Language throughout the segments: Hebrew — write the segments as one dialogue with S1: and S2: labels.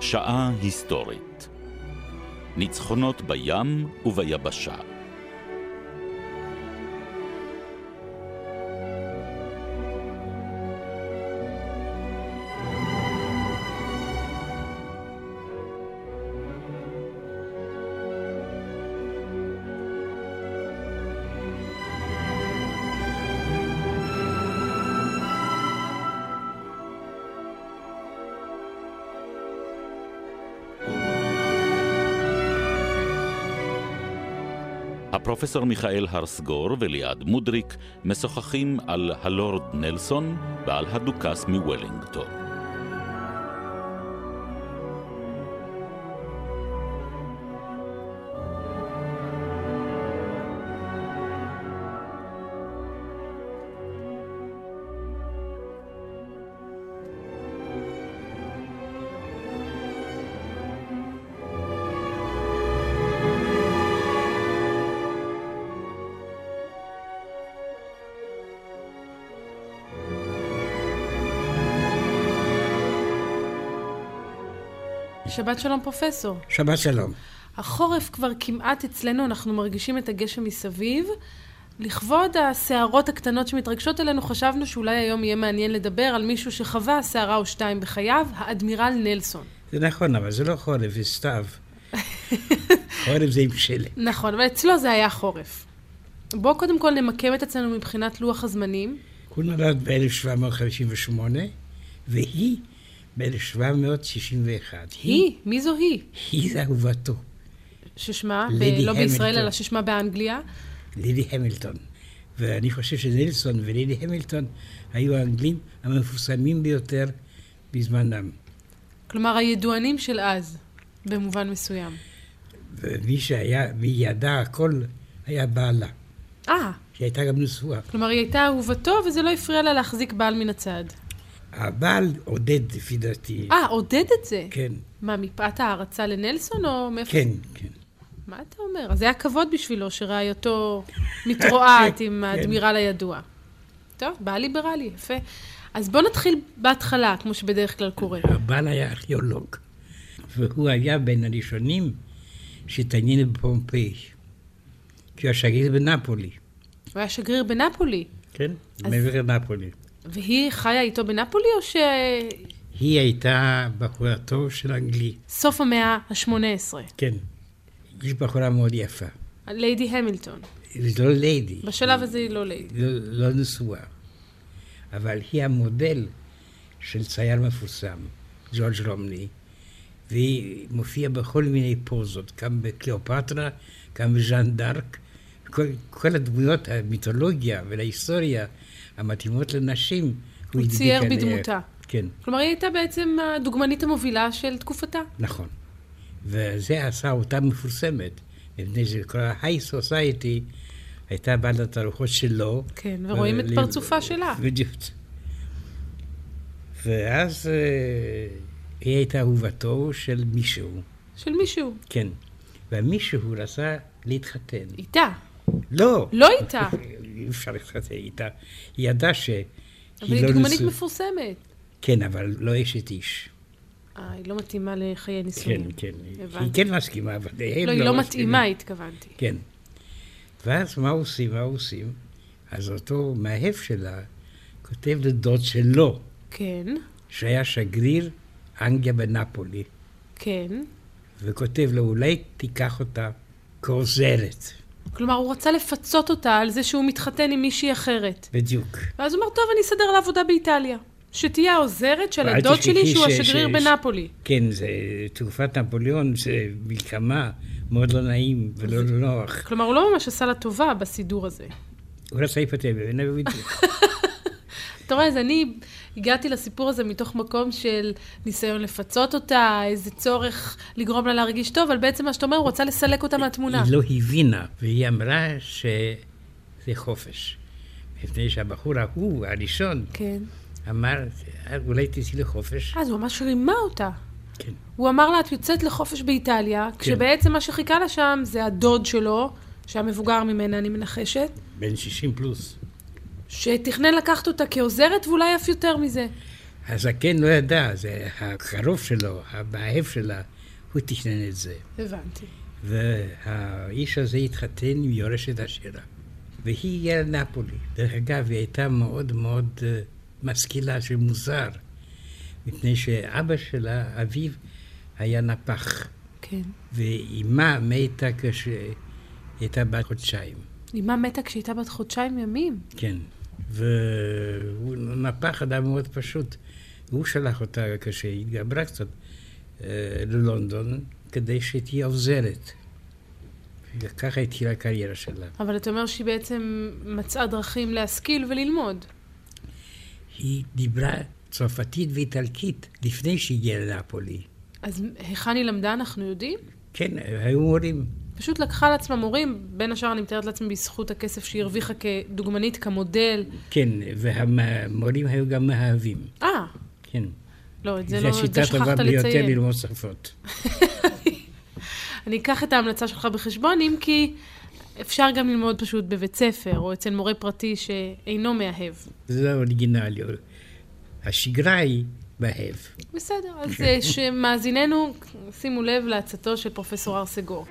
S1: שעה היסטורית. ניצחונות בים וביבשה. הפרופסור מיכאל הרסגור וליעד מודריק משוחחים על הלורד נלסון ועל הדוכס מוולינגטון.
S2: שבת שלום, פרופסור.
S3: שבת שלום.
S2: החורף כבר כמעט אצלנו, אנחנו מרגישים את הגשם מסביב. לכבוד הסערות הקטנות שמתרגשות אלינו, חשבנו שאולי היום יהיה מעניין לדבר על מישהו שחווה סערה או שתיים בחייו, האדמירל נלסון.
S3: זה נכון, אבל זה לא חורף, זה סתיו. חורף זה עם שלג.
S2: נכון, אבל אצלו זה היה חורף. בואו קודם כל נמקם את עצמנו מבחינת לוח הזמנים.
S3: הוא נולד ב-1758, והיא ב-1761.
S2: היא? מי זו היא?
S3: היא זה אהובתו,
S2: ששמה, ב-
S3: לידי
S2: לא בישראל,
S3: המילטון.
S2: אלא ששמה באנגליה.
S3: לילי המילטון. ואני חושב שנלסון ולילי המילטון היו האנגלים המפורסמים ביותר בזמנם.
S2: כלומר, הידוענים של אז, במובן מסוים.
S3: ומי שהיה, מי ידע הכל, היה בעלה,
S2: אה,
S3: שהייתה גם נשואה.
S2: כלומר, היא הייתה אהובתו, וזה לא הפריע לה להחזיק בעל מן הצד.
S3: הבעל עודד, לפי דעתי.
S2: אה, עודד את זה.
S3: כן,
S2: מה, מפאת הערצה לנלסון, או מאיפה?
S3: כן, כן.
S2: מה אתה אומר? אז זה היה כבוד בשבילו שרעייתו מתרועעת
S3: כן,
S2: עם האדמירל הידוע. טוב, בעל ליברלי, יפה. אז בואו נתחיל בהתחלה, כמו שבדרך כלל קורה.
S3: הבעל היה ארכיאולוג, והוא היה בין הראשונים שהתעניין בפומפיי, כי הוא השגריר בנפולי.
S2: הוא היה שגריר בנפולי,
S3: כן? מעבר לנפולי.
S2: והיא חיה איתו בנפולי, או שסוף
S3: היא הייתה בחורתו של אנגלי,
S2: המאה ה-18?
S3: כן. יש בחורה מאוד יפה.
S2: ליידי המילטון.
S3: היא לא ליידי,
S2: בשלב הזה היא לא ליידי.
S3: לא, לא נשואה, אבל היא המודל של צייר מפורסם, ג'ורג' רומני, והיא מופיעה בכל מיני פוזות, גם בקליאופטרה, גם בז'אן דארק, כל, כל הדמויות, המיתולוגיה ולהיסטוריה המתאימות לנשים, הוא,
S2: הוא
S3: הדביק
S2: צייר
S3: עליה.
S2: בדמותה.
S3: כן,
S2: כלומר, היא הייתה בעצם הדוגמנית המובילה של תקופתה.
S3: נכון. וזה עשה אותה מפורסמת, מפני שכל ה-high society הייתה בעלת התערוכות שלו.
S2: כן, ורואים את
S3: ול-
S2: פרצופה שלה.
S3: אה, בדיוק. ואז אה, היא הייתה אהובתו של מישהו,
S2: של מישהו.
S3: כן. והמישהו רצה להתחתן.
S2: איתה.
S3: לא!
S2: לא איתה.
S3: אי אפשר להתחתן איתה. היא ידעה שהיא
S2: אבל היא
S3: לא
S2: דוגמנית
S3: נשוא.
S2: מפורסמת.
S3: כן, אבל לא אשת איש.
S2: אה, היא לא מתאימה לחיי
S3: כן,
S2: נישואים.
S3: כן. היא
S2: הבנתי.
S3: כן מסכימה, אבל הם
S2: לא, היא לא
S3: מסכימים.
S2: מתאימה, התכוונתי.
S3: כן. ואז מה עושים, מה עושים? אז אותו מאהב שלה כותב לדוד שלו,
S2: כן,
S3: שהיה שגריר אנגליה בנפולי,
S2: כן.
S3: וכותב לו, אולי תיקח אותה כעוזרת.
S2: כלומר, הוא רצה לפצות אותה על זה שהוא מתחתן עם מישהי אחרת.
S3: בדיוק.
S2: ואז הוא אמר, טוב, אני אסדר לה עבודה באיטליה. שתהיה העוזרת של
S3: ואל
S2: הדוד שלי,
S3: תשכחי
S2: שהוא
S3: ש-
S2: השגריר
S3: ש-
S2: בנפולי.
S3: כן, זה תקופת נפוליאון, זה מלחמה מאוד לא נעים ולא נוח.
S2: כלומר, הוא לא ממש עשה לה טובה בסידור הזה.
S3: הוא רצה להיפטר ממנה בדיוק.
S2: אתה רואה, אז אני הגעתי לסיפור הזה מתוך מקום של ניסיון לפצות אותה, איזה צורך לגרום לה להרגיש טוב, אבל בעצם מה שאתה אומר, הוא רצה לסלק אותה מהתמונה.
S3: היא לא הבינה, והיא אמרה שזה חופש. מפני שהבחור ההוא, הראשון,
S2: כן.
S3: אמר, "אה, אולי תצאי לחופש.
S2: אז הוא ממש רימה אותה.
S3: כן.
S2: הוא אמר לה, את יוצאת לחופש באיטליה, כשבעצם מה שחיכה לה שם זה הדוד שלו, שהיה מבוגר ממנה, אני מנחשת,
S3: בן 60 פלוס.
S2: שתכנן לקחת אותה כעוזרת ואולי אף יותר מזה.
S3: הזקן לא ידע, זה הקרוב שלו, המאהב שלה, הוא תכנן את זה.
S2: הבנתי.
S3: והאיש הזה התחתן עם יורשת עשירה. והיא הגיעה לנפולי. דרך אגב, היא הייתה מאוד מאוד אה, משכילה, שמוזר, מפני שאבא שלה, אביו, היה נפח,
S2: כן.
S3: ואימה מתה כשהייתה בת חודשיים.
S2: אמה מתה כשהיא הייתה בת חודשיים ימים.
S3: כן. והוא נפח אדם מאוד פשוט. הוא שלח אותה, כשהיא התגברה קצת, אה, ללונדון, כדי שתהיה עוזרת. וככה התחילה הקריירה שלה.
S2: אבל אתה אומר שהיא בעצם מצאה דרכים להשכיל וללמוד.
S3: היא דיברה צרפתית ואיטלקית לפני שהגיעה לנפולי.
S2: אז היכן היא למדה אנחנו יודעים?
S3: כן, היו מורים.
S2: פשוט לקחה על עצמה מורים, בין השאר אני מתארת לעצמי בזכות הכסף שהיא הרוויחה כדוגמנית, כמודל.
S3: כן, והמורים היו גם מאהבים.
S2: אה,
S3: כן.
S2: לא, את זה לא,
S3: זו
S2: את זה
S3: השיטה הטובה
S2: שכחת
S3: ביותר
S2: לציין.
S3: ללמוד שפות.
S2: אני אקח את ההמלצה שלך בחשבון, אם כי אפשר גם ללמוד פשוט בבית ספר, או אצל מורה פרטי שאינו מאהב.
S3: זה האוריגינלי. השגרה היא מאהב.
S2: בסדר, אז
S3: אוקיי.
S2: אה, שמאזיננו, שימו לב לעצתו של פרופסור ארסגור.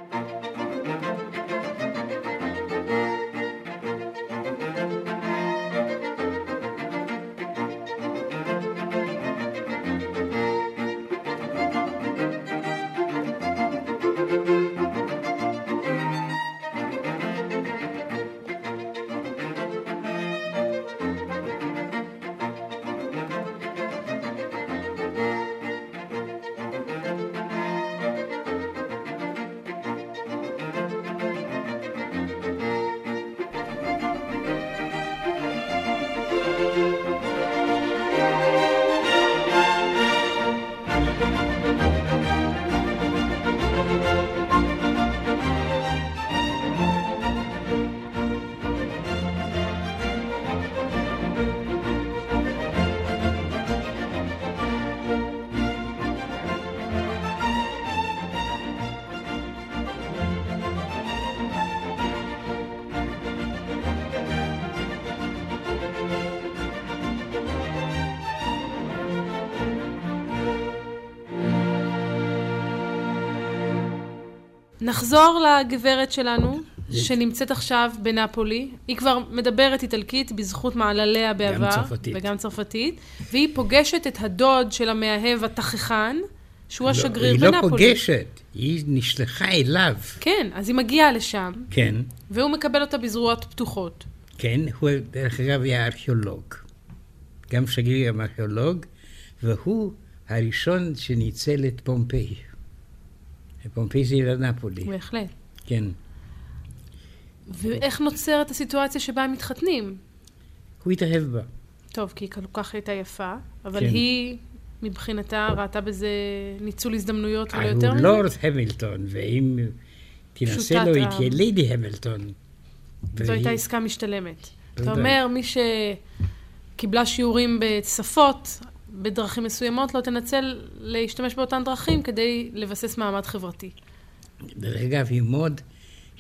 S2: נחזור לגברת שלנו,
S3: אוקיי.
S2: שנמצאת עכשיו בנפולי. היא כבר מדברת איטלקית בזכות מעלליה בעבר.
S3: צרפתית.
S2: וגם צרפתית. והיא פוגשת את הדוד של המאהב התככן, שהוא השגריר
S3: היא לא
S2: בנפולי.
S3: פוגשת, היא נשלחה אליו.
S2: כן, אז היא מגיעה לשם,
S3: כן,
S2: והוא מקבל אותה בזרועות פתוחות.
S3: כן, הוא דרך אגב היה ארכיאולוג. גם שגריר גם ארכיאולוג, והוא הראשון שניצל את פומפיי. פומפיי זה עיר נפולי,
S2: בהחלט.
S3: כן.
S2: ואיך נוצרת הסיטואציה שבה הם מתחתנים?
S3: הוא התאהב בה.
S2: טוב, כי היא כל כך הייתה יפה, אבל
S3: כן.
S2: היא, מבחינתה, ראתה בזה ניצול הזדמנויות ולא יותר
S3: אה, הוא
S2: מזה.
S3: לורד המילטון, ואם תנסה
S2: פשוטת
S3: לו, היא
S2: ה-
S3: תהיה לידי המילטון.
S2: זו
S3: והיא-
S2: הייתה עסקה משתלמת. אתה
S3: בוודאי.
S2: אומר, מי שקיבלה שיעורים בשפות, בדרכים מסוימות, לא תנצל להשתמש באותן דרכים כדי לבסס מעמד חברתי.
S3: דרך אגב, היא מאוד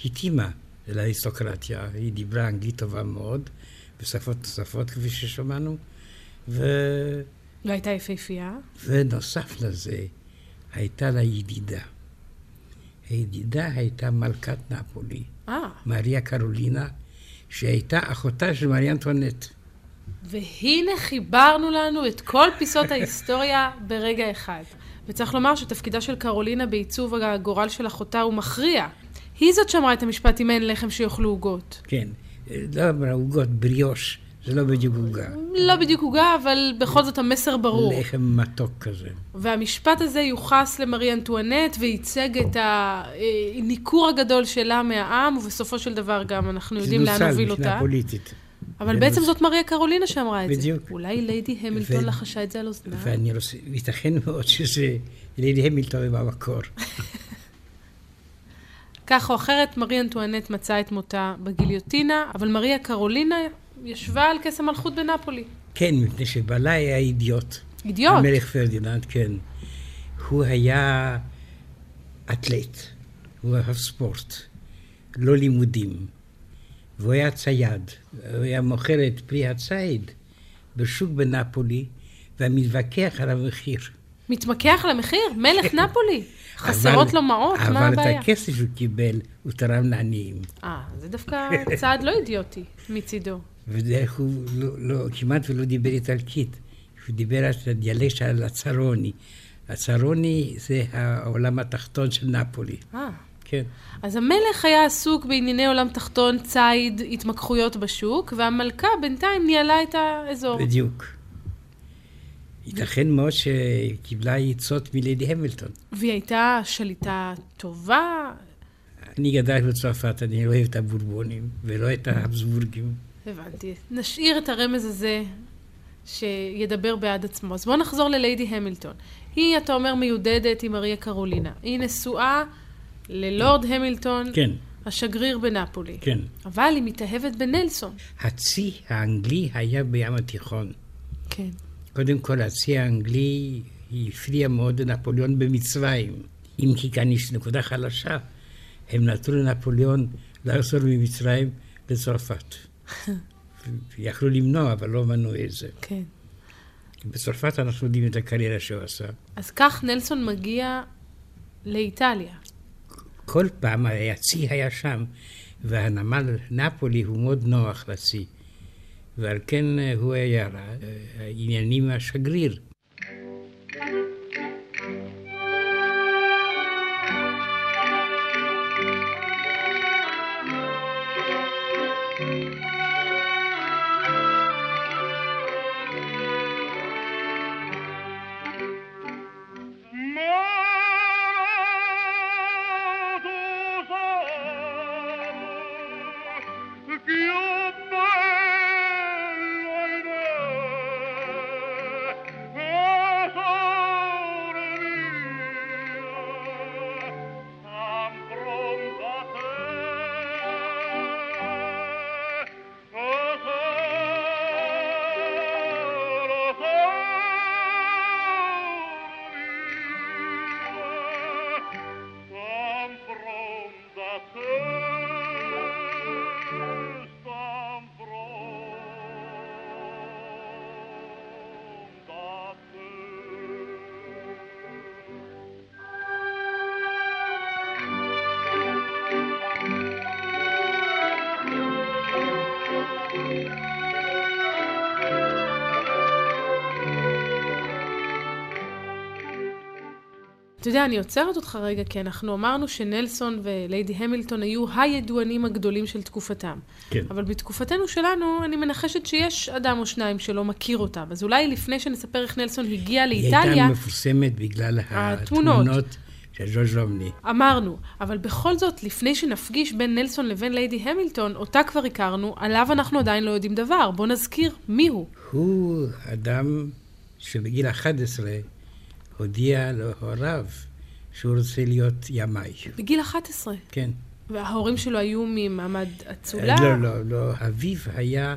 S3: התאימה לאריסטוקרטיה, היא דיברה אנגלית טובה מאוד, בשפות נוספות כפי ששמענו, ו...
S2: והייתה לא יפהפייה.
S3: ונוסף לזה, הייתה לה ידידה. הידידה הייתה מלכת נפולי,
S2: אה,
S3: מריה קרולינה, שהייתה אחותה של מריה אנטואנט.
S2: והנה חיברנו לנו את כל פיסות ההיסטוריה ברגע אחד. וצריך לומר שתפקידה של קרולינה בעיצוב הגורל של אחותה הוא מכריע. היא זאת שאמרה את המשפט אם אין לחם שיאכלו עוגות.
S3: כן, לא אמרה עוגות, בריאוש, זה לא בדיוק עוגה.
S2: לא בדיוק עוגה, אבל בכל זאת המסר ברור.
S3: לחם מתוק כזה.
S2: והמשפט הזה יוחס למרי אנטואנט וייצג את הניכור הגדול שלה מהעם, ובסוף של דבר גם אנחנו יודעים לאן הוביל
S3: זה נוצל מבחינה
S2: אותה.
S3: פוליטית.
S2: אבל
S3: זה
S2: בעצם
S3: נוצ-
S2: זאת מריה קרולינה שאמרה את זה.
S3: בדיוק.
S2: אולי ליידי המילטון
S3: ו-
S2: לחשה את זה על אוזנה.
S3: ואני רוצה, ייתכן מאוד שזה לילי המילטון במקור.
S2: כך או אחרת, מרי אנטואנט מצאה את מותה בגיליוטינה, אבל מריה קרולינה ישבה על כס המלכות בנפולי.
S3: כן, מפני שבעלה היה אידיוט.
S2: אידיוט.
S3: המלך פרדיננד, כן. הוא היה אתלט, הוא אהב ספורט, לא לימודים. והוא היה צייד, הוא היה מוכר את פרי הציד בשוק בנפולי, והמתווכח על המחיר.
S2: מתמקח למחיר? מלך נפולי. חסרות
S3: כן. אבל-
S2: לו מעות, מה
S3: אבל את
S2: הבעיה?
S3: הכסף שהוא קיבל, הוא תרם לעניים.
S2: אה, זה דווקא צעד לא אידיוטי מצידו.
S3: ודרך הוא לא, לא, כמעט ולא דיבר איטלקית, הוא דיבר על הדיאלקט על הצרוני. הצרוני זה העולם התחתון של נפולי.
S2: אה.
S3: כן.
S2: אז המלך היה עסוק בענייני עולם תחתון, ציד, התמקחויות בשוק, והמלכה בינתיים ניהלה את האזור.
S3: בדיוק. ייתכן מאוד שקיבלה עצות מלידי המילטון.
S2: והיא הייתה שליטה טובה,
S3: אני גדלתי בצרפת, אני לא אוהב את הבורבונים ולא את ההבסבורגים.
S2: הבנתי. נשאיר את הרמז הזה שידבר בעד עצמו. אז בואו נחזור לליידי המילטון. היא, אתה אומר, מיודדת עם אריה קרולינה. היא נשואה ללורד המילטון,
S3: כן,
S2: השגריר בנפולי.
S3: כן.
S2: אבל היא מתאהבת בנלסון.
S3: הצי האנגלי היה בים התיכון.
S2: כן.
S3: קודם כל, הצי האנגלי הפריע מאוד לנפוליאון במצרים. אם כי כאן יש נקודה חלשה, הם נתנו לנפוליאון לחזור ממצרים לצרפת. יכלו למנוע, אבל לא מנעו את זה.
S2: כן.
S3: בצרפת אנחנו יודעים את הקריירה שהוא עשה.
S2: אז כך נלסון מגיע לאיטליה.
S3: כל פעם הצי היה שם, והנמל נפולי הוא מאוד נוח לצי. ועל כן אה, הוא היה אה, העניינים השגריר.
S2: אתה יודע, אני עוצרת אותך רגע, כי אנחנו אמרנו שנלסון וליידי המילטון היו הידוענים הגדולים של תקופתם.
S3: כן.
S2: אבל בתקופתנו שלנו, אני מנחשת שיש אדם או שניים שלא מכיר אותם. אז אולי לפני שנספר איך נלסון הגיע
S3: היא
S2: לאיטליה,
S3: הייתה מפורסמת בגלל
S2: התמונות.
S3: התמונות של ג'ורג' רומני.
S2: אמרנו. אבל בכל זאת, לפני שנפגיש בין נלסון לבין ליידי המילטון, אותה כבר הכרנו, עליו אנחנו עדיין לא יודעים דבר. בוא נזכיר מי הוא.
S3: הוא אדם שבגיל 11 הודיע להוריו שהוא רוצה להיות ימאי.
S2: בגיל 11.
S3: כן.
S2: וההורים שלו היו ממעמד אצולה.
S3: לא, לא, לא. אביו היה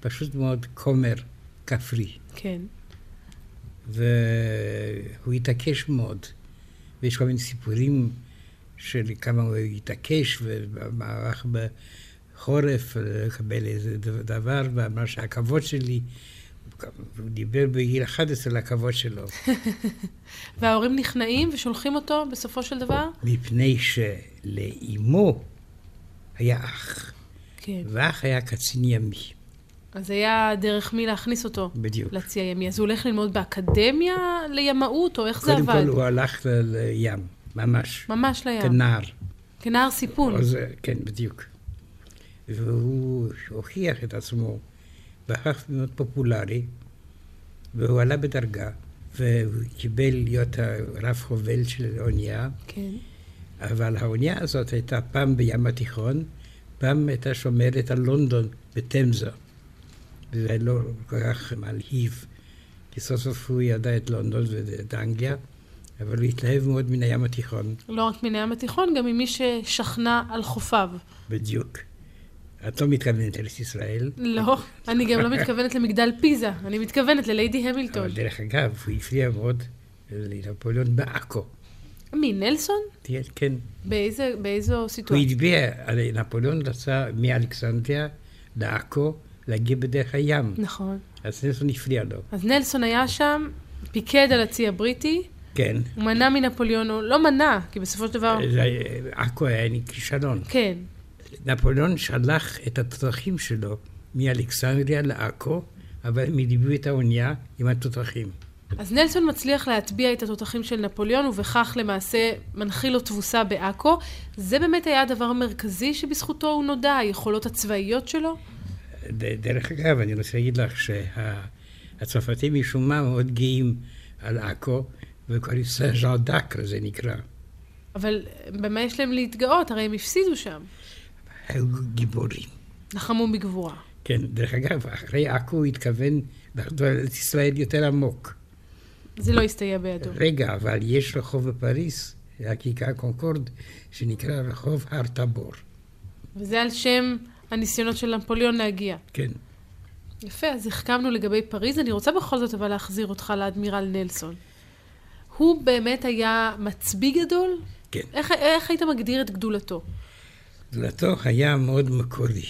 S3: פשוט מאוד כומר כפרי.
S2: כן.
S3: והוא התעקש מאוד. ויש כל מיני סיפורים של כמה הוא התעקש, ובמערך בחורף לקבל איזה דב- דבר, ואמר שהכבוד שלי, הוא דיבר בגיל 11 על הכבוד שלו,
S2: וההורים נכנעים ושולחים אותו בסופו של דבר?
S3: מפני שלאימו היה אח,
S2: כן.
S3: ואח היה קצין ימי,
S2: אז היה דרך מי להכניס אותו
S3: בדיוק.
S2: לצי הימי. אז הוא הולך ללמוד באקדמיה לימאות, או איך זה
S3: קודם
S2: עבד?
S3: כל הוא הלך ל- לים, ממש,
S2: ממש לא לים.
S3: כנער.
S2: כנער סיפון.
S3: אז, כן, בדיוק. והוא הוכיח את עצמו, והפך מאוד פופולרי, והוא עלה בדרגה, והוא קיבל להיות הרב חובל של האונייה,
S2: כן.
S3: אבל האונייה הזאת הייתה פעם בים התיכון, פעם הייתה שומרת על לונדון בתמזה. וזה לא כל כך מלהיב, כי סוף סוף הוא ידע את לונדון ואת אנגליה, אבל הוא התלהב מאוד מן הים התיכון.
S2: לא רק מן הים התיכון, גם ממי ששכנה על חופיו.
S3: בדיוק. את לא מתכוונת לארץ ישראל.
S2: לא, אני גם לא מתכוונת למגדל פיזה, אני מתכוונת לליידי המילטון.
S3: אבל דרך אגב, הוא הפריע מאוד לנפוליאון בעכו.
S2: מי, נלסון?
S3: תראה, כן.
S2: באיזה, באיזו
S3: הוא
S2: סיטואציה?
S3: הטביע, נפוליאון רצה מאלכסנדריה לעכו, להגיע בדרך הים.
S2: נכון.
S3: אז נלסון הפריע לו.
S2: אז נלסון היה שם, פיקד על הצי הבריטי,
S3: כן.
S2: הוא מנע מנפוליאון, הוא לא מנע, כי בסופו של דבר...
S3: זה היה- עכו היה כישלון.
S2: כן,
S3: נפוליאון שלח את התותחים שלו מאלכסנדריה לעכו, אבל הם הדיבו את האונייה עם התותחים.
S2: אז נלסון מצליח להטביע את התותחים של נפוליאון, ובכך למעשה מנחיל לו תבוסה בעכו. זה באמת היה הדבר המרכזי שבזכותו הוא נודע, היכולות הצבאיות שלו.
S3: ד- דרך אגב, אני רוצה להגיד לך שהצרפתים משום מה מאוד גאים על עכו, וקוראים סן ז'אן דקר זה נקרא.
S2: אבל במה יש להם להתגאות? הרי הם הפסידו שם.
S3: היו גיבורים.
S2: לחמו בגבורה.
S3: כן, דרך אגב, אחרי עכו הוא התכוון לחדור לארץ ישראל יותר עמוק.
S2: זה לא הסתייע בידו.
S3: רגע, אבל יש רחוב בפריס, הכיכר קונקורד, שנקרא רחוב הר טבור.
S2: וזה על שם הניסיונות של נפוליאון להגיע.
S3: כן.
S2: יפה, אז החכמנו לגבי פריז. אני רוצה בכל זאת אבל להחזיר אותך לאדמירל נלסון. הוא באמת היה מצביא גדול?
S3: כן.
S2: איך, איך היית מגדיר את גדולתו?
S3: גדולתו היה מאוד מקורי.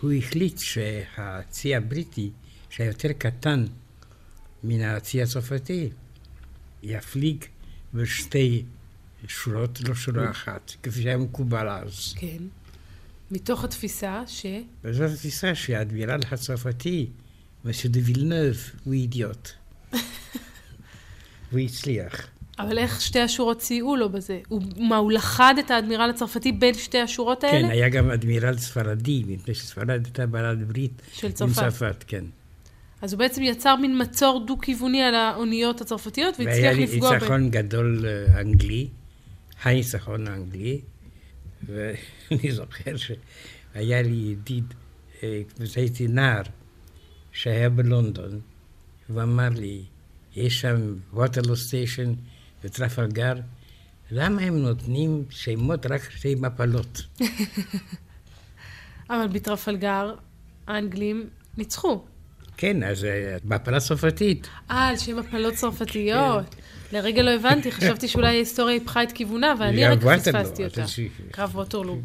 S3: הוא החליט שהצי הבריטי, שהיה יותר קטן מן הצי הצרפתי, יפליג בשתי שורות, לא
S2: Mm.
S3: שורה אחת, כפי שהיה מקובל אז.
S2: כן. מתוך התפיסה ש...
S3: וזאת התפיסה שהאדמירל הצרפתי, מסו דה וילנב, הוא אידיוט. והוא הצליח.
S2: אבל איך שתי השורות סייעו לו בזה? הוא, מה, הוא לחד את האדמירל הצרפתי בין שתי השורות האלה?
S3: כן, היה גם אדמירל ספרדי, מפני שספרד הייתה בעלת ברית.
S2: של
S3: עם
S2: צרפת.
S3: צרפת, כן.
S2: אז הוא בעצם יצר מין מצור דו-כיווני על האוניות הצרפתיות והצליח
S3: לי
S2: לפגוע בהן.
S3: ניצחון גדול אה, אנגלי, הניצחון האנגלי, ואני זוכר שהיה לי ידיד, אה, כשהייתי נער, שהיה בלונדון, ואמר לי, יש שם ווטרלו סטיישן וטרפלגר, למה הם נותנים שמות רק שתי מפלות?
S2: אבל בטרפלגר האנגלים ניצחו.
S3: כן, אז אה, מפלה צרפתית.
S2: אה, על שם הפלות צרפתיות.
S3: כן.
S2: לרגע לא הבנתי, חשבתי שאולי ההיסטוריה הפכה את כיוונה, ואני
S3: גם
S2: רק
S3: ווטרלו,
S2: פספסתי אותה.
S3: אתה ש-
S2: קרב ווטרלו.
S3: לא,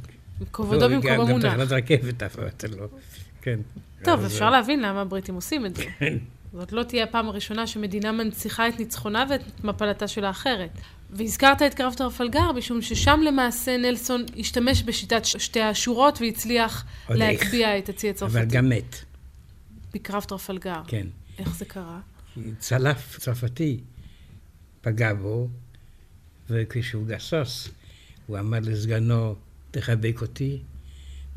S2: כבודו
S3: גם-
S2: במקומו
S3: גם
S2: מונח.
S3: תחנת רכבת עפה ווטרלו. כן.
S2: טוב,
S3: אז,
S2: אפשר להבין למה הבריטים עושים את זה.
S3: כן.
S2: זאת לא תהיה הפעם הראשונה שמדינה מנציחה את ניצחונה ואת מפלתה של האחרת. והזכרת את קרב טרפלגר, משום ששם למעשה נלסון השתמש בשיטת ש- שתי השורות והצליח
S3: עוד איך.
S2: להטביע את הצי
S3: אבל
S2: הצרפתי
S3: גם מת,
S2: בקרב טרפלגר.
S3: כן.
S2: איך זה קרה?
S3: צלף צרפתי פגע בו, וכשהוא גסס, הוא אמר לסגנו, תחבק אותי,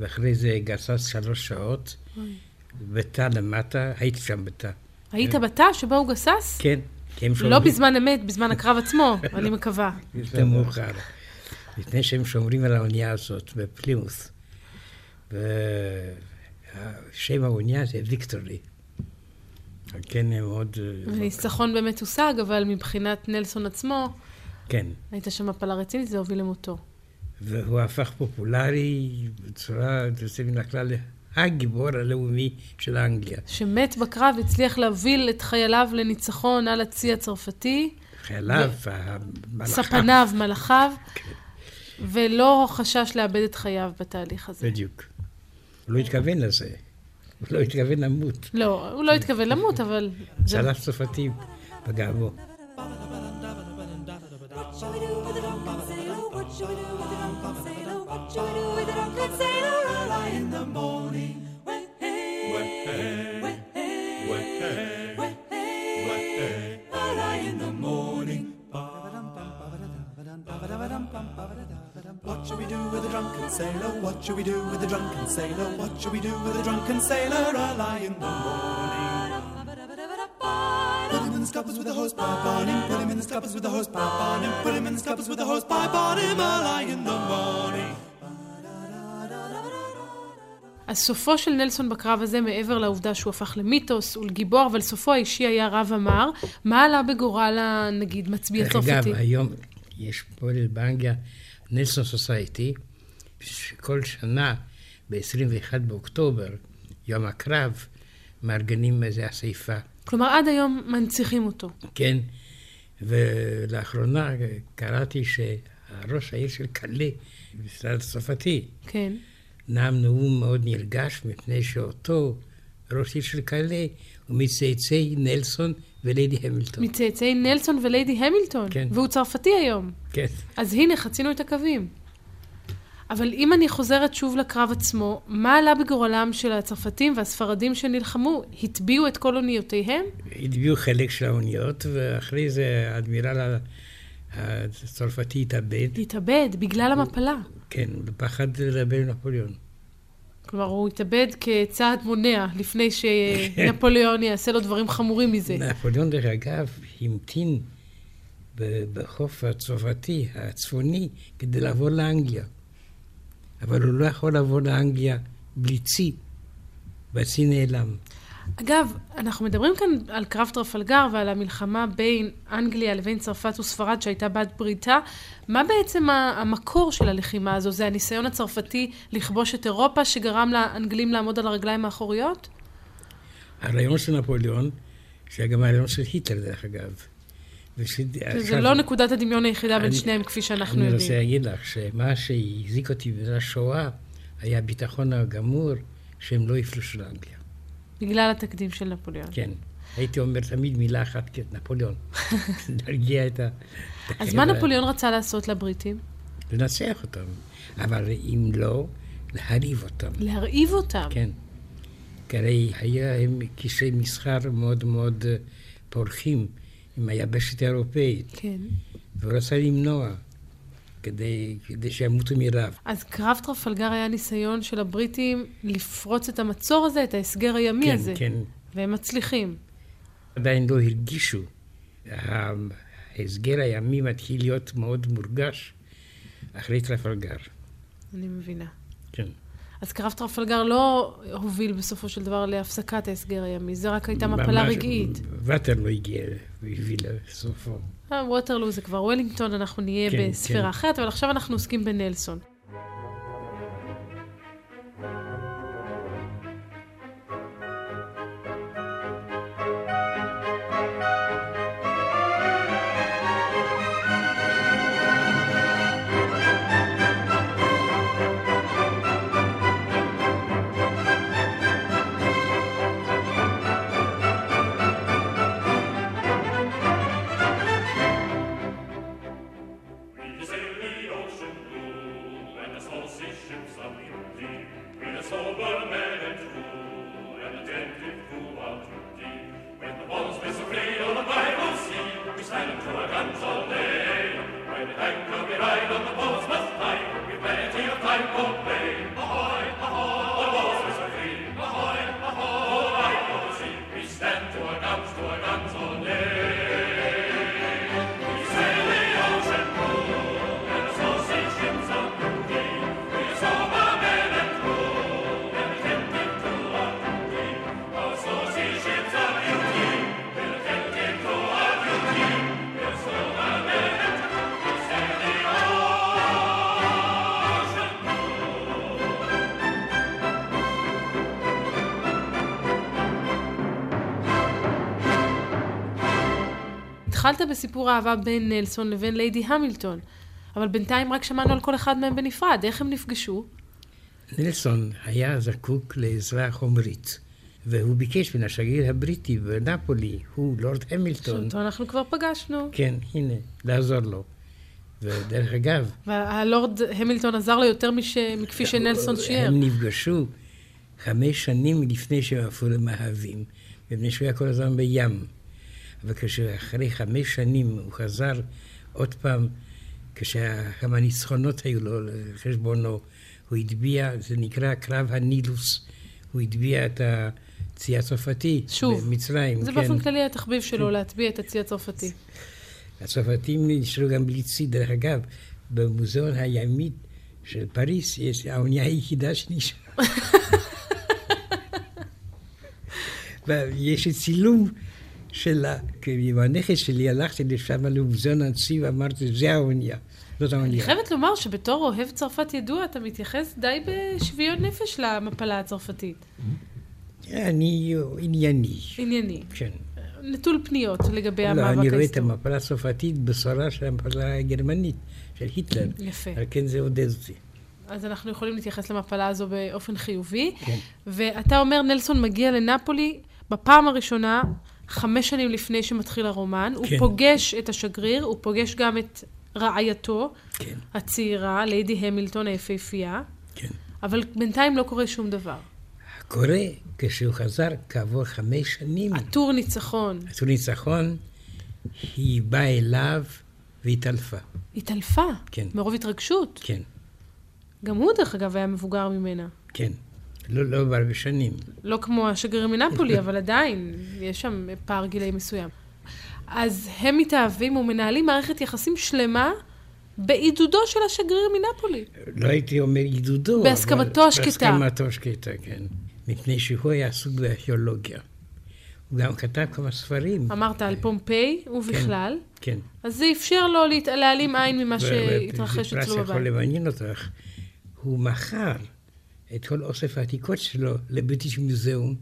S3: ואחרי זה גסס שלוש שעות, בתא למטה, הייתי שם בתא.
S2: היית בתא שבו הוא גסס?
S3: כן, כן, כי הם
S2: לא בזמן אמת, בזמן הקרב עצמו, אני מקווה.
S3: יותר מאוחר. לפני שהם שומרים על האונייה הזאת בפלימוס. ושם האונייה זה ויקטורי. על כן הם מאוד... אה,
S2: וניצחון באמת הושג, אבל מבחינת נלסון עצמו,
S3: כן.
S2: הייתה שם מפלה רצינית, זה הוביל למותו.
S3: והוא הפך פופולרי בצורה יוצאת מן הכלל הגיבור הלאומי של אנגליה.
S2: שמת בקרב, הצליח להוביל את חייליו לניצחון על הצי הצרפתי.
S3: חייליו, המלאכה.
S2: ספניו, מלאכיו,
S3: אוקיי.
S2: ולא חשש לאבד את חייו בתהליך הזה.
S3: בדיוק. הוא לא התכוון לזה. הוא לא התכוון למות.
S2: לא, הוא לא התכוון למות, אבל... זה-
S3: צלף צרפתי פגע בו.
S4: What shall we do with the drunken sailor? What shall we do with the drunken sailor? What shall we do with the drunken sailor? Early in the morning. Way, way, way, way, early in the morning.
S5: What shall we do with a drunken sailor? What shall we do with a drunken sailor? What shall we do with a drunken sailor? A lie in the morning. Put him in the scuppers with a hosepipe on him. Put him in the scuppers with a hosepipe on him. Put him in the scuppers with a hosepipe on him. A lie in the morning.
S2: אז סופו של נלסון בקרב הזה, מעבר לעובדה שהוא הפך למיתוס ולגיבור, אבל סופו האישי היה רב אמר, מה עלה בגורל, ה- נגיד, מצביא
S3: דרך אגב,
S2: הצרפתי?
S3: היום יש פועל באנגליה, נלסון סוסייטי, שכל שנה ב-21 באוקטובר, יום הקרב, מארגנים איזה אספה.
S2: כלומר, עד היום מנציחים אותו.
S3: כן, ולאחרונה קראתי שהראש העיר של קלה, משרד הצרפתי,
S2: כן.
S3: נאם נאום מאוד נרגש מפני שאותו ראשית של קאלה ומצאצאי נלסון וליידי המילטון.
S2: מצאצאי נלסון וליידי המילטון.
S3: כן.
S2: והוא צרפתי היום.
S3: כן.
S2: אז הנה, חצינו את הקווים. אבל אם אני חוזרת שוב לקרב עצמו, מה עלה בגורלם של הצרפתים והספרדים שנלחמו? הטביעו את כל אוניותיהם?
S3: הטביעו חלק של האוניות, ואחרי זה האדמירל הצרפתי התאבד,
S2: להתאבד בגלל המפלה.
S3: כן, בפחד לדבר עם נפוליאון.
S2: כלומר, הוא התאבד כצעד מונע לפני שנפוליאון יעשה לו דברים חמורים מזה.
S3: נפוליאון, דרך אגב, המתין ב- בחוף הצרפתי הצפוני כדי לעבור לאנגליה. אבל הוא לא יכול לעבור לאנגליה בלי צי, והצי נעלם.
S2: אגב, אנחנו מדברים כאן על קרב טרפלגר ועל המלחמה בין אנגליה לבין צרפת וספרד שהייתה בת בריתה. מה בעצם ה- המקור של הלחימה הזו? זה הניסיון הצרפתי לכבוש את אירופה שגרם לאנגלים לעמוד על הרגליים האחוריות?
S3: אה, הרעיון של נפוליאון, שהיה גם הרעיון של היטלר, דרך אגב.
S2: זה לא נקודת הדמיון היחידה בין שניהם כפי שאנחנו
S3: כן. אני רוצה
S2: יודעים.
S3: להגיד לך שמה שהחזיק אותי בגלל השואה היה הביטחון הגמור שהם לא יפלשו לאנגליה.
S2: בגלל התקדים של נפוליאון.
S3: כן. הייתי אומר תמיד מילה אחת, כן, נפוליאון. להרגיע את ה... את
S2: אז
S3: החיים
S2: מה
S3: האלה.
S2: נפוליאון רצה לעשות לבריטים?
S3: לנצח אותם. אבל אם לא, להרעיב אותם.
S2: להרעיב אותם.
S3: כן. כי הרי היה הם קשרי מסחר מאוד מאוד אה, פורחים עם היבשת האירופאית,
S2: כן.
S3: והוא רצה למנוע כדי, כדי שימותו מרעב.
S2: אז קרב טרפלגר היה ניסיון של הבריטים לפרוץ את המצור הזה, את ההסגר הימי
S3: כן,
S2: הזה.
S3: כן.
S2: והם מצליחים.
S3: עדיין לא הרגישו. ההסגר הימי מתחיל להיות מאוד מורגש אחרי טרפלגר.
S2: אני מבינה.
S3: כן.
S2: אז קרב טרפלגר לא הוביל בסופו של דבר להפסקת ההסגר הימי, זה רק הייתה מפלה
S3: ממש- לא.
S2: רגעית.
S3: ואטר לא הגיע והביא לסופו.
S2: אה, ווטרלו זה כבר וולינגטון, אנחנו נהיה
S3: כן,
S2: בספירה
S3: כן.
S2: אחרת, אבל עכשיו אנחנו עוסקים בנלסון.
S6: We sail the ocean blue, and the small sea ships are beauty. With a sober man and true, and attentive to our duty. When the walls we survey on the Bible sea, we stand to our guns all day. When the anchor we ride on the Portsmouth tide, we plenty of time for play. Ahoy, ahoy, the walls we survey. Ahoy, ahoy, the Bible sea, we stand to our guns, to our guns all day. We sail the ocean blue, and the small sea ships are beauty. We are sober men and true, and attentive to our duty. Our small sea ships are beauty, we're attentive to our duty. We're sober men and true, we sail the ocean
S2: התחלת בסיפור האהבה בין נלסון לבין ליידי המילטון, אבל בינתיים רק שמענו על כל אחד מהם בנפרד, איך הם נפגשו?
S3: נלסון היה זקוק לעזרה חומרית, והוא ביקש מן השגריר הבריטי בנפולי, הוא לורד המילטון,
S2: שאותו אנחנו כבר פגשנו.
S3: כן, הנה, לעזור לו. ודרך אגב,
S2: והלורד המילטון עזר לו יותר מש... מכפי שנלסון שיער.
S3: כן, הם נפגשו חמש שנים לפני שהם הפכו למאהבים, מפני שהוא היה כל הזמן בים. אבל כשאחרי חמש שנים הוא חזר עוד פעם, כשכמה ניצחונות היו לו לחשבונו, הוא הטביע, זה נקרא קרב הנילוס, הוא הטביע את הצי הצרפתי
S2: שוב.
S3: במצרים.
S2: זה
S3: כן.
S2: באופן כללי התחביב שלו להטביע את הצי הצרפתי.
S3: הצרפתים נשארו גם בלי צי, דרך אגב, במוזיאון הימית של פריס יש האונייה היחידה שנשארה. ויש לי צילום שלה, כי עם הנכד שלי הלכתי לשם למוזיאון הצי ואמרתי, זה האונייה, זאת
S2: אני
S3: האונייה.
S2: חייבת לומר שבתור אוהב צרפת ידוע, אתה מתייחס די בשוויון נפש למפלה הצרפתית.
S3: אני ענייני,
S2: ענייני.
S3: כן.
S2: נטול פניות לגבי
S3: לא, אני
S2: המאבק
S3: רואה את
S2: ההיסטורי.
S3: המפלה הצרפתית בשורה של המפלה הגרמנית, של היטלר.
S2: יפה.
S3: על כן זה עודד אותי.
S2: אז אנחנו יכולים להתייחס למפלה הזו באופן חיובי.
S3: כן.
S2: ואתה אומר, נלסון מגיע לנפולי בפעם הראשונה, חמש שנים לפני שמתחיל הרומן. הוא
S3: כן.
S2: פוגש את השגריר, הוא פוגש גם את רעייתו
S3: כן.
S2: הצעירה, ליידי המילטון היפהפייה,
S3: כן.
S2: אבל בינתיים לא קורה שום דבר.
S3: קורה כשהוא חזר כעבור חמש שנים.
S2: עטור ניצחון.
S3: עשו ניצחון, היא באה אליו והתעלפה.
S2: התעלפה,
S3: כן.
S2: מרוב התרגשות.
S3: כן,
S2: גם הוא, דרך אגב, היה מבוגר ממנה.
S3: כן. לא, לא בהרבה שנים.
S2: לא כמו השגריר מנפולי, אבל עדיין, יש שם פער גילאי מסוים. אז הם מתאהבים ומנהלים מערכת יחסים שלמה בעידודו של השגריר מנפולי.
S3: לא הייתי אומר עידודו, אבל-
S2: בהסכמתו השקטה.
S3: בהסכמתו השקטה, כן. מפני שהוא היה עסוק בארכיאולוגיה. הוא גם כתב כמה ספרים.
S2: אמרת על פומפיי ובכלל,
S3: כן.
S2: אז זה אפשר לו להת- להעלים עין ממה
S3: ו-
S2: שהתרחש
S3: ופרס
S2: אצלו
S3: יכול
S2: בבית.
S3: למעניין אותך. הוא מכר את כל אוסף העתיקות שלו לביטיש מוזיאום,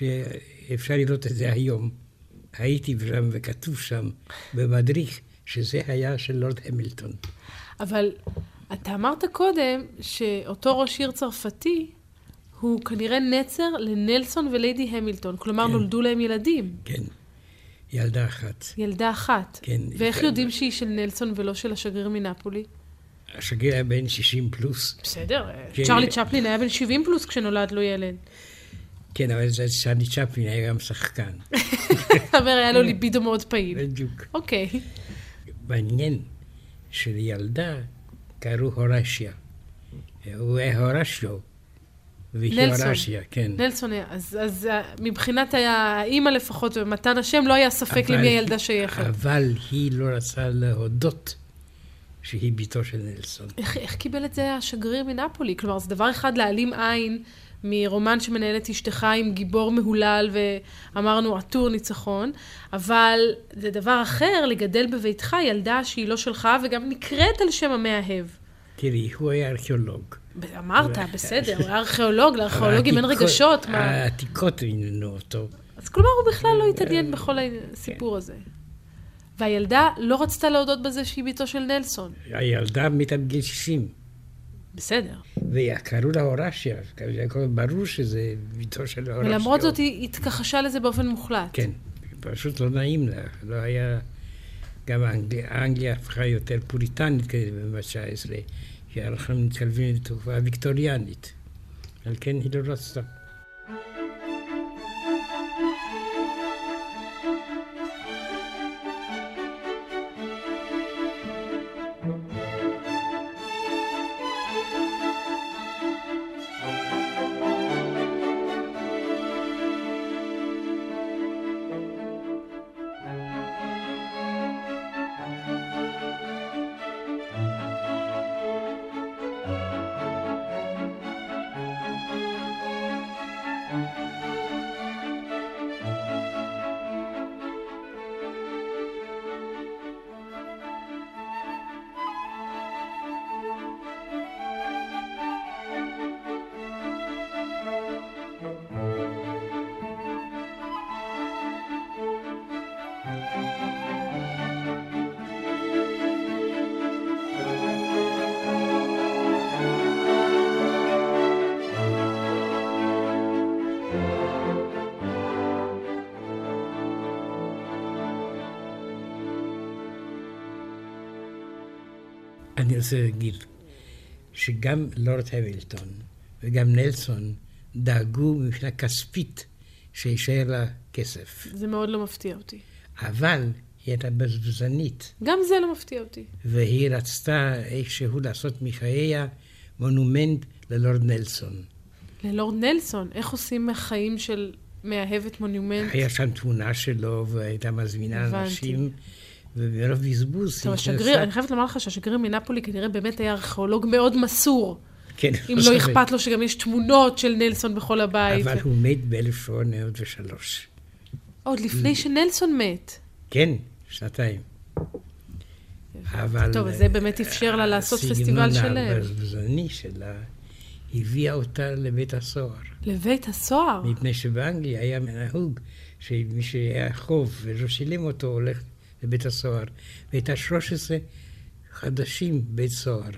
S3: שאפשר לראות את זה היום. הייתי שם וכתוב שם במדריך שזה היה של לורד המילטון.
S2: אבל אתה אמרת קודם שאותו ראש עיר צרפתי הוא כנראה נצר לנלסון וליידי המילטון, כלומר נולדו להם ילדים.
S3: כן, ילדה אחת.
S2: ילדה אחת.
S3: כן,
S2: ואיך
S3: ילדה.
S2: יודעים שהיא של נלסון ולא של השגריר מנפולי?
S3: השגריר היה בן 60 פלוס.
S2: בסדר, אה,
S3: כן.
S2: צ'רלי צ'פלין היה בן 70 פלוס כשנולד לו ילד.
S3: כן, אבל זה סני צ'פלין היה גם שחקן.
S2: אתה אומר, היה
S3: כן.
S2: לו ליבידו מאוד פעיל.
S3: בדיוק.
S2: אוקיי.
S3: מעניין שלילדה קראו הורשיה. הוא היה הורשיו. והיא
S2: נלסון.
S3: הורשיה, כן.
S2: נלסון היה, אז אז, אה, מבחינת האימא לפחות ומתן השם, לא היה ספק למי הילדה שייכת.
S3: אבל היא לא רצה להודות שהיא בתו של נלסון.
S2: איך איך קיבל את זה השגריר מנפולי? כלומר, זה דבר אחד להעלים עין מרומן שמנהלת אשתך עם גיבור מהולל ואמרנו עטור ניצחון, אבל זה דבר אחר לגדל בביתך ילדה שהיא לא שלך וגם נקראת על שם המאהב.
S3: תראי, הוא היה ארכיאולוג.
S2: אמרת, בסדר, הוא היה ארכיאולוג, לארכיאולוגים אין
S3: העתיקות-
S2: רגשות,
S3: אה.
S2: מה?
S3: העתיקות עניינו אותו.
S2: אז כלומר, הוא בכלל לא התעניין בכל הסיפור הזה. והילדה לא רצתה להודות בזה שהיא בתו של נלסון.
S3: הילדה מתה בגיל 60.
S2: בסדר.
S3: וקראו לה הורשיה, זה הכל ברור שזה ביתו של הורשיה.
S2: ולמרות זאת, היא התכחשה לזה באופן מוחלט.
S3: כן, פשוט לא נעים לה, לא היה... גם אנגליה, אנגליה הפכה יותר פוריטנית כזה במאה ה-19, כי אנחנו מתקרבים לתקופה הוויקטוריאנית. על כן היא לא רצתה. אני רוצה להגיד שגם לורד המילטון וגם נלסון דאגו מבחינה כספית שיישאר לה כסף.
S2: זה מאוד לא מפתיע אותי.
S3: אבל היא הייתה בזבזנית,
S2: גם זה לא מפתיע אותי.
S3: והיא רצתה איכשהו לעשות מחייה מונומנט ללורד נלסון.
S2: ללורד נלסון, איך עושים מהחיים של מאהבת מונומנט?
S3: היה שם תמונה שלו והייתה מזמינה
S2: כן. הבנתי.
S3: אנשים, ומרוב בזבוז
S2: טוב,
S3: היא
S2: השגריר, אני חייבת לומר לך שהשגריר מנפולי כנראה באמת היה ארכיאולוג מאוד מסור.
S3: כן,
S2: אם לא אכפת לו שגם יש תמונות של נלסון בכל הבית.
S3: אבל הוא מת ב-1803.
S2: עוד לפני
S3: Mm.
S2: שנלסון מת.
S3: כן, שנתיים. אבל... אה,
S2: טוב, אז זה באמת אפשר לה לעשות פסטיבל
S3: הסגנון
S2: שלם.
S3: הבזבזני שלה הביאה אותה לבית הסוהר.
S2: לבית הסוהר.
S3: מפני שבאנגליה היה נהוג שמי שהיה חוב ולא שילם אותו הולך לבית הסוהר. והייתה 13 חדשים בית סוהר.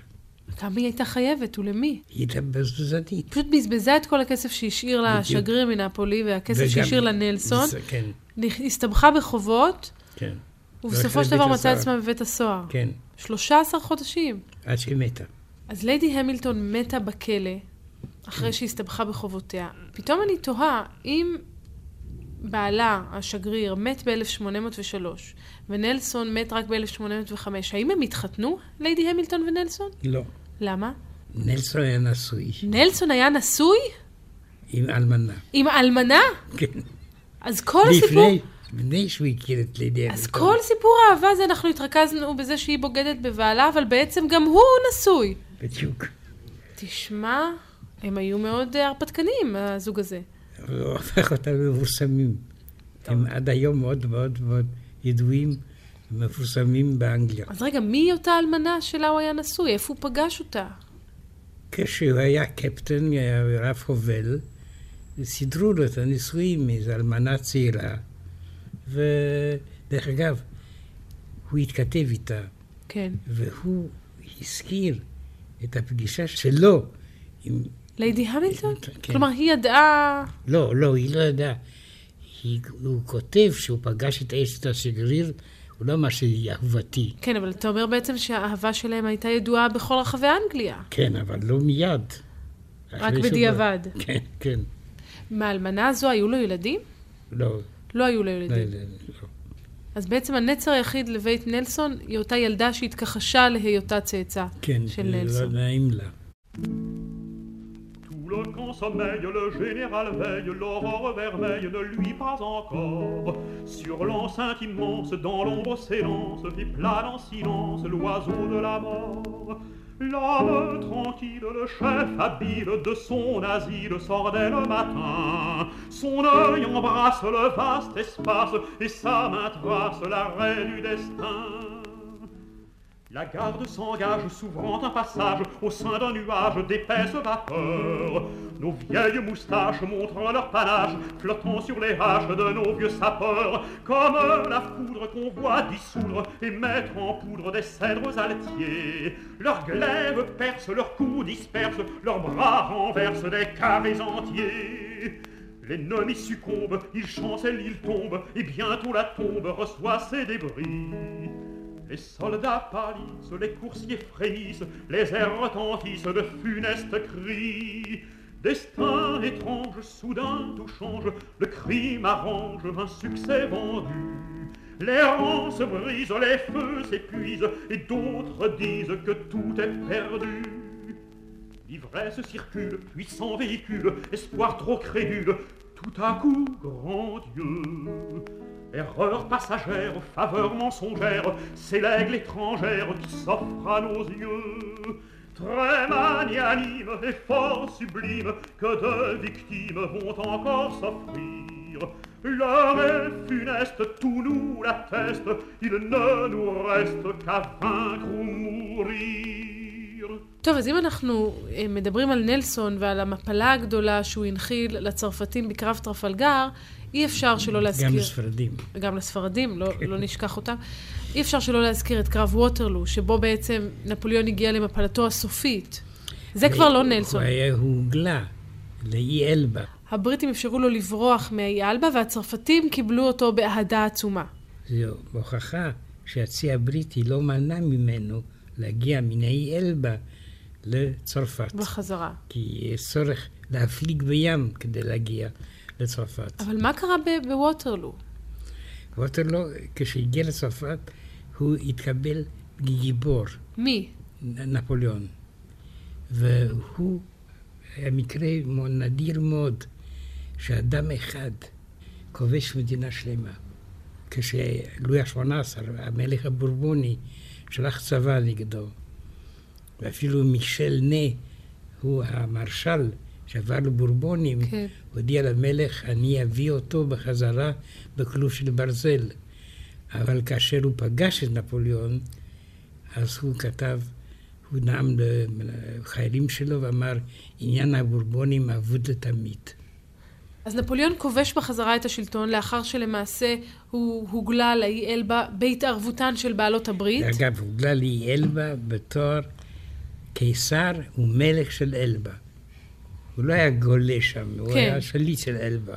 S2: כמה היא הייתה חייבת ולמי?
S3: היא הייתה בזבזנית.
S2: היא פשוט בזבזה את כל הכסף שהשאיר לה
S3: בדיוק.
S2: השגריר מנפולי והכסף
S3: וגם-
S2: שהשאיר לה נלסון.
S3: זה- כן,
S2: נכ- הסתבכה בחובות,
S3: כן,
S2: ובסופו
S3: והלכה
S2: של דבר
S3: לבית
S2: מצאה
S3: הסוהר.
S2: עצמה בבית הסוהר.
S3: כן,
S2: 13 חודשים.
S3: עד שהיא מתה.
S2: אז ליידי המילטון מתה בכלא, אחרי שהסתבכה בחובותיה. פתאום אני תוהה, אם בעלה, השגריר, מת ב-1803, ונלסון מת רק ב-1805, האם הם התחתנו, ליידי המילטון ונלסון?
S3: לא.
S2: למה?
S3: נלסון היה נשוי
S2: נלסון היה נשוי?
S3: עם אלמנה.
S2: עם אלמנה?
S3: כן.
S2: אז כל הסיפור...
S3: לפני, לפני שהוא הכיר את לידי
S2: אז
S3: אביטון.
S2: כל סיפור האהבה הזה, אנחנו התרכזנו בזה שהיא בוגדת בבעלה, אבל בעצם גם הוא נשוי.
S3: בדיוק.
S2: תשמע, הם היו מאוד אה, הרפתקנים, הזוג הזה.
S3: אבל הוא הפך אותם למפורסמים. הם עד היום מאוד מאוד מאוד ידועים ומפורסמים באנגליה.
S2: אז רגע, מי אותה אלמנה שלה הוא היה נשוי? איפה הוא פגש אותה?
S3: כשהוא היה קפטן, היה רב חובל, סידרו לו את הנישואים מאיזו אלמנה צעירה, ודרך אגב, הוא התכתב איתה,
S2: כן.
S3: והוא הזכיר את הפגישה שלו עם...
S2: ליידי המילטון?
S3: כן.
S2: כלומר, היא ידעה...
S3: לא, לא, היא לא ידעה. היא- הוא כותב שהוא פגש את אשת השגריר, הוא לא אמר שהיא אהובתי.
S2: כן, אבל אתה אומר בעצם שהאהבה שלהם הייתה ידועה בכל רחבי אנגליה.
S3: כן, אבל לא מיד. אחרי שהוא
S2: בדיעבד.
S3: בא. כן, כן.
S2: מהאלמנה הזו היו לו ילדים?
S3: לא,
S2: לא היו לו
S3: לא,
S2: ילדים.
S3: לא, לא.
S2: אז בעצם הנצר היחיד לבית נלסון היא אותה ילדה שהתכחשה להיותה צאצא
S3: כן,
S2: של
S3: לא
S2: נלסון.
S3: נעים לה.
S6: Tout le camp sommeille, le général veille, l'aurore vermeille ne lui pas encore. Sur l'enceinte immense, dans l'ombre s'élance, vit plane en silence l'oiseau de la mort. L'homme tranquille, le chef habile de son asile sort dès le matin. Son œil embrasse le vaste espace et sa main trace l'arrêt du destin. La garde s'engage, s'ouvrant un passage au sein d'un nuage d'épaisse vapeur. Nos vieilles moustaches montrant leur panache, flottant sur les haches de nos vieux sapeurs, comme la foudre qu'on voit dissoudre et mettre en poudre des cèdres altiers. Leurs glaives percent, leurs coups dispersent, leurs bras renversent des carrés entiers. L'ennemi succombe, il chancelle, il tombe, et bientôt la tombe reçoit ses débris. Les soldats pâlissent, les coursiers frémissent, les airs retentissent de funestes cris. Destin étrange, soudain tout change, le crime arrange un succès vendu. Les rangs se brisent, les feux s'épuisent, et d'autres disent que tout est perdu. L'ivresse circule, puissant véhicule, espoir trop crédule, tout à coup, grand Dieu. Erreur passagère, faveur mensongère, c'est l'aigle étrangère qui s'offre à nos yeux. Très magnanime et fort sublime, que de victimes vont encore s'offrir. L'heure est funeste, tout nous l'atteste, il ne nous reste qu'à vaincre ou mourir.
S2: טוב, אז אם אנחנו אה, מדברים על נלסון ועל המפלה הגדולה שהוא הנחיל לצרפתים בקרב טרפלגר, אי אפשר שלא להזכיר...
S3: גם לספרדים.
S2: גם לספרדים, לא, לא נשכח אותם. אי אפשר שלא להזכיר את קרב ווטרלו, שבו בעצם נפוליאון הגיע למפלתו הסופית. זה כבר לא נלסון.
S3: הוא היה הוגלה לאי אלבה.
S2: הבריטים אפשרו לו לברוח מהאי אלבה, והצרפתים קיבלו אותו באהדה עצומה.
S3: זו הוכחה שהצי הבריטי לא מנע ממנו להגיע מן האי אלבה לצרפת.
S2: בחזרה.
S3: כי יש צורך להפליג בים כדי להגיע לצרפת.
S2: אבל מה קרה ב- בווטרלו?
S3: ווטרלו, כשהגיע לצרפת, הוא התקבל גיבור.
S2: מי?
S3: נ- נפוליאון. והוא היה מקרה מו- נדיר מאוד, שאדם אחד כובש מדינה שלמה. כשלואי ה-18, המלך הבורבוני, שלח צבא נגדו, ואפילו מישל נה, הוא המרשל שעבר לבורבונים,
S2: כן.
S3: הודיע למלך, אני אביא אותו בחזרה בכלוב של ברזל. אבל כאשר הוא פגש את נפוליאון, אז הוא כתב, הוא נאם לחיילים שלו ואמר, עניין הבורבונים אבוד לתמיד.
S2: אז נפוליאון כובש בחזרה את השלטון, לאחר שלמעשה הוא הוגלה לאי אלבה בהתערבותן של בעלות הברית.
S3: אגב, הוגלה לי אלבה בתואר קיסר הוא מלך של אלבה. הוא לא היה גולה שם, הוא
S2: כן.
S3: היה שליט של אלבה.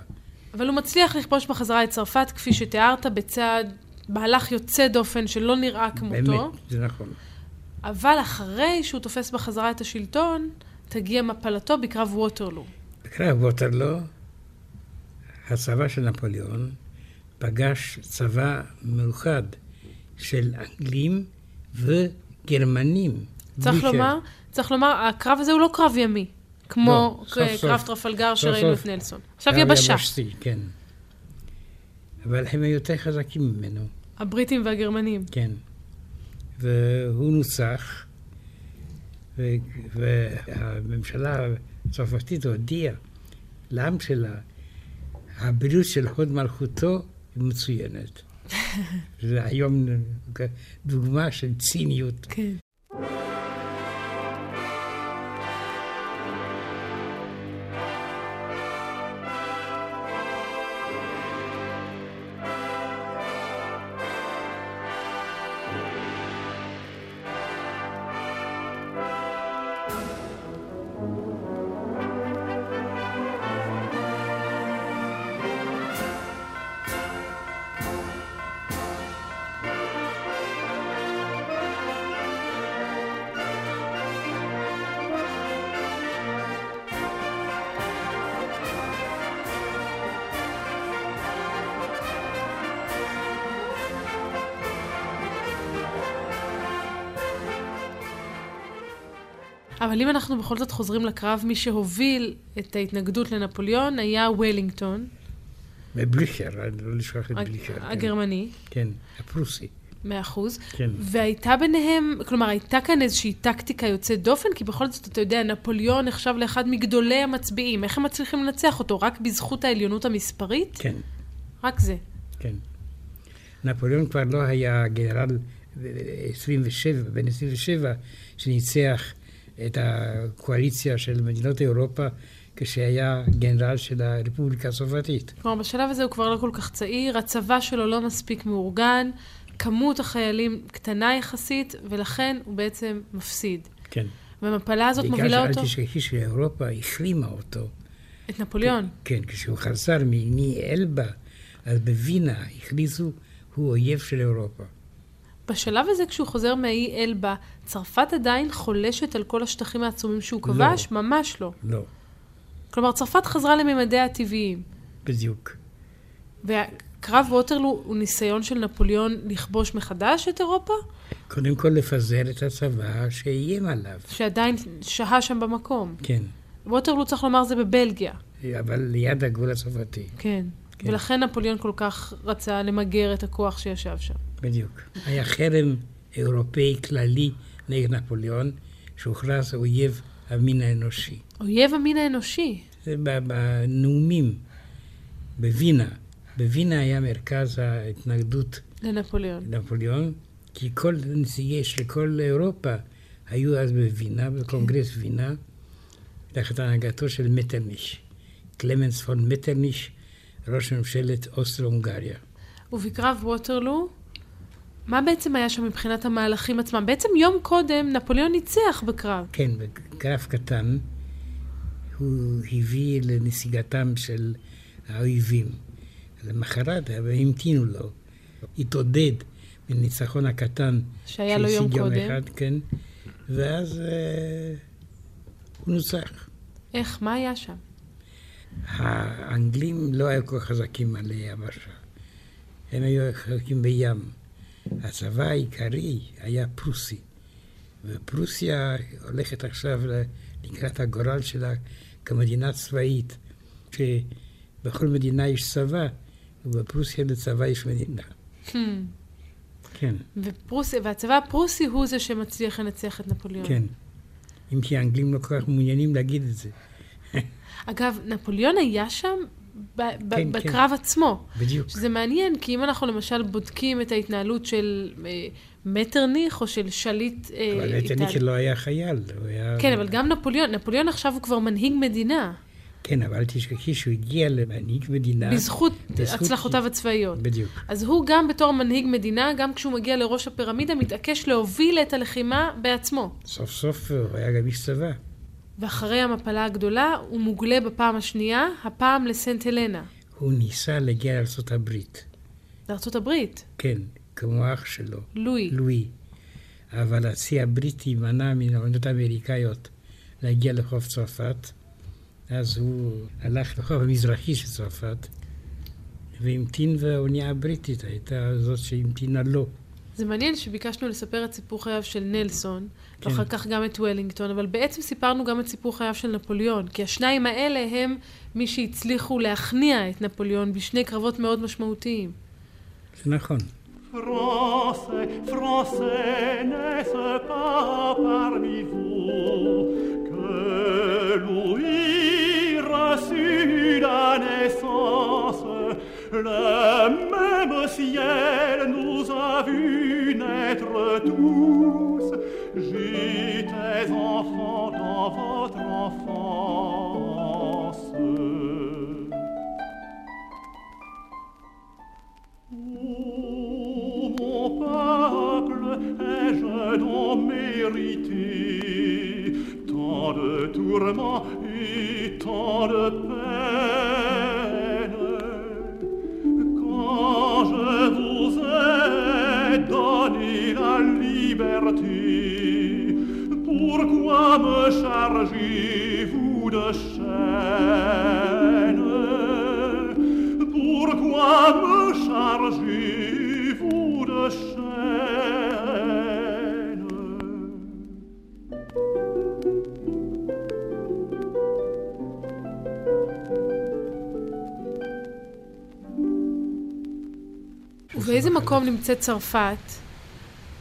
S2: אבל הוא מצליח לכבוש בחזרה את צרפת, כפי שתיארת, בצעד, מהלך יוצא דופן שלא נראה כמותו.
S3: באמת, זה נכון.
S2: אבל אחרי שהוא תופס בחזרה את השלטון, תגיע מפלתו בקרב ווטרלו.
S3: בקרב ווטרלו, הצבא של נפוליאון פגש צבא מאוחד של אנגלים וגרמנים.
S2: צריך
S3: בלי
S2: לומר, צריך לומר, הקרב הזה הוא לא קרב ימי, כמו
S3: לא,
S2: ק-
S3: סוף סוף.
S2: קרב טרפלגר
S3: סוף
S2: שראינו
S3: סוף.
S2: את נלסון. עכשיו
S3: קרב
S2: יבשה,
S3: יבשתי, כן. אבל הם היו יותר חזקים ממנו.
S2: הבריטים והגרמנים.
S3: כן. והוא נוצח, ו- והממשלה הצרפתית הודיעה לעם שלה, הבריאות של הוד מלכותו היא מצוינת. זה היום דוגמה של ציניות.
S2: כן. אבל אם אנחנו בכל זאת חוזרים לקרב, מי שהוביל את ההתנגדות לנפוליאון היה וולינגטון,
S3: ובליכר, אני לא לשכוח את
S2: הג-
S3: בליכר. כן.
S2: הגרמני,
S3: כן, הפרוסי.
S2: מאה אחוז.
S3: כן.
S2: והייתה ביניהם, כלומר, הייתה כאן איזושהי טקטיקה יוצאת דופן, כי בכל זאת, אתה יודע, נפוליאון נחשב לאחד מגדולי המצביעים. איך הם מצליחים לנצח אותו? רק בזכות העליונות המספרית?
S3: כן,
S2: רק זה.
S3: כן. נפוליאון כבר לא היה גנרל 27, בן 27, שניצח את הקואליציה של מדינות אירופה כשהיה גנרל של הרפובליקה הצרפתית.
S2: כלומר, בשלב הזה הוא כבר לא כל כך צעיר, הצבא שלו לא מספיק מאורגן, כמות החיילים קטנה יחסית, ולכן הוא בעצם מפסיד.
S3: כן.
S2: והמפלה הזאת
S3: בעיקר
S2: מובילה
S3: שאל
S2: אותו,
S3: תשכחי שאירופה החרימה אותו.
S2: את נפוליאון.
S3: כן, כשהוא חזר מאלבה, אז בווינה הכריזו, הוא אויב של אירופה. כן.
S2: בשלב הזה, כשהוא חוזר מהאי אלבה, צרפת עדיין חולשת על כל השטחים העצומים שהוא
S3: לא.
S2: כבש? ממש לא.
S3: לא,
S2: כלומר, צרפת חזרה לממדיה הטבעיים.
S3: בדיוק.
S2: וקרב ווטרלו הוא ניסיון של נפוליאון לכבוש מחדש את אירופה,
S3: קודם כל לפזר את הצבא שאיים עליו.
S2: שעדיין שהה שם במקום.
S3: כן,
S2: ווטרלו, צריך לומר, זה בבלגיה.
S3: אבל ליד הגבול הצרפתי.
S2: כן.
S3: כן.
S2: ולכן נפוליאון כל כך רצה למגר את הכוח שישב שם.
S3: בדיוק. היה חרם אירופאי כללי נגד נפוליאון, שהוכרז אויב המין האנושי.
S2: אויב המין האנושי.
S3: זה ב- בנאומים בווינה. בווינה היה מרכז ההתנגדות
S2: לנפוליאון.
S3: לנפוליאון, כי כל נציגי של כל אירופה היו אז בווינה, בקונגרס וינה, תחת הנהגתו של מטרניש. קלמנס פון מטרניש, ראש ממשלת אוסטרו-הונגריה.
S2: ובקרב ווטרלו, מה בעצם היה שם מבחינת המהלכים עצמם? בעצם יום קודם נפוליאון ניצח בקרב.
S3: כן, בגרף קטן, הוא הביא לנסיגתם של האויבים. למחרת הם המתינו לו, התעודד מניצחון הקטן.
S2: שהיה לו יום
S3: שהשיג
S2: קודם.
S3: אחד, כן, ואז אה, הוא נוצח.
S2: איך, מה היה שם?
S3: האנגלים לא היו כל כך חזקים על יבשה. הם היו חזקים בים. הצבא העיקרי היה פרוסי, ופרוסיה הולכת עכשיו ל- לקראת הגורל שלה כמדינה צבאית, שבכל מדינה יש צבא, ובפרוסיה לצבא יש מדינה.
S2: Hmm.
S3: כן,
S2: ופרוסיה, והצבא הפרוסי הוא זה שמצליח לנצח את נפוליאון.
S3: כן. אם כי האנגלים לא כל כך מעוניינים להגיד את זה.
S2: אגב, נפוליאון היה שם ב- ב-
S3: כן,
S2: בקרב עצמו.
S3: בדיוק.
S2: שזה מעניין, כי אם אנחנו למשל בודקים את ההתנהלות של אה, מטרניך או של שליט... אה, כן,
S3: אבל
S2: איטל-
S3: נתניהו לא היה חייל, הוא היה...
S2: כן, אבל גם נפוליאון, נפוליאון עכשיו הוא כבר מנהיג מדינה.
S3: כן, אבל אל תשכחי שהוא הגיע למנהיג מדינה.
S2: בזכות
S3: בזכות-
S2: הצלחותיו הצבאיות.
S3: בדיוק.
S2: אז הוא גם בתור מנהיג מדינה, גם כשהוא מגיע לראש הפירמידה, מתעקש להוביל את הלחימה בעצמו.
S3: סוף סוף הוא היה גם איש צבא.
S2: ואחרי המפלה הגדולה, הוא מוגלה בפעם השנייה, הפעם לסנט הלנה,
S3: הוא ניסה להגיע לארצות הברית.
S2: לארצות הברית,
S3: כן, כמו אח שלו,
S2: לואי.
S3: לואי. אבל הצי הבריטי מנע מן העונות האמריקאיות להגיע לחוף צרפת. אז הוא הלך לחוף המזרחי של צרפת, והמתין, והאונייה הבריטית הייתה זאת שהמתינה לו.
S2: זה מעניין שביקשנו לספר את סיפור חייו של נלסון,
S3: כן.
S2: ואחר כך גם את וולינגטון, אבל בעצם סיפרנו גם את סיפור חייו של נפוליאון, כי השניים האלה הם מי שהצליחו להכניע את נפוליאון בשני קרבות מאוד משמעותיים.
S3: זה נכון.
S6: Français, Français, n'est-ce pas parmi vous que Louis reçut la naissance Le même ciel nous a vus naître tous. J'étais enfant dans votre enfance. Ô mon peuple, ai-je donc mérité tant de tourments et tant de peines Quand je vous ai donné la liberté, pourquoi me chargez-vous de chaînes pourquoi me chargez-vous de chaînes
S2: ובאיזה מקום נמצאת צרפת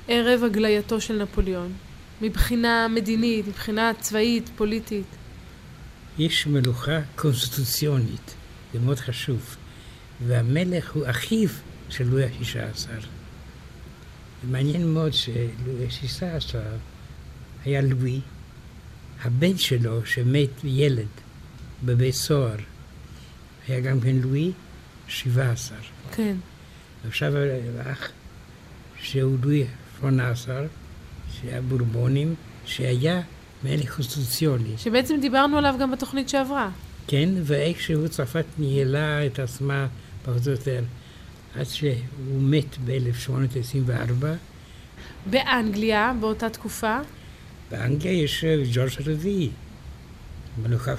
S2: ערב הגלייתו של נפוליאון? מבחינה מדינית, מבחינה צבאית, פוליטית.
S3: יש מלוכה קונסטיטוציונית, זה מאוד חשוב, והמלך הוא אחיו של לואי ה-16. מעניין מאוד שלואי ה-16 היה לואי, הבן שלו שמת ילד בבית סוהר, היה גם כן לואי 17.
S2: כן.
S3: עכשיו האח שהוא לואי 18, שהיה בורבונים, שהיה מלך קונסטיטוציוני.
S2: שבעצם דיברנו עליו גם בתוכנית שעברה.
S3: כן, ואיכשהו צרפת ניהלה את עצמה פחות או יותר עד שהוא מת ב-1824.
S2: באנגליה, באותה תקופה,
S3: באנגליה יש אה, ג'ורג' הרביעי. מלוכה,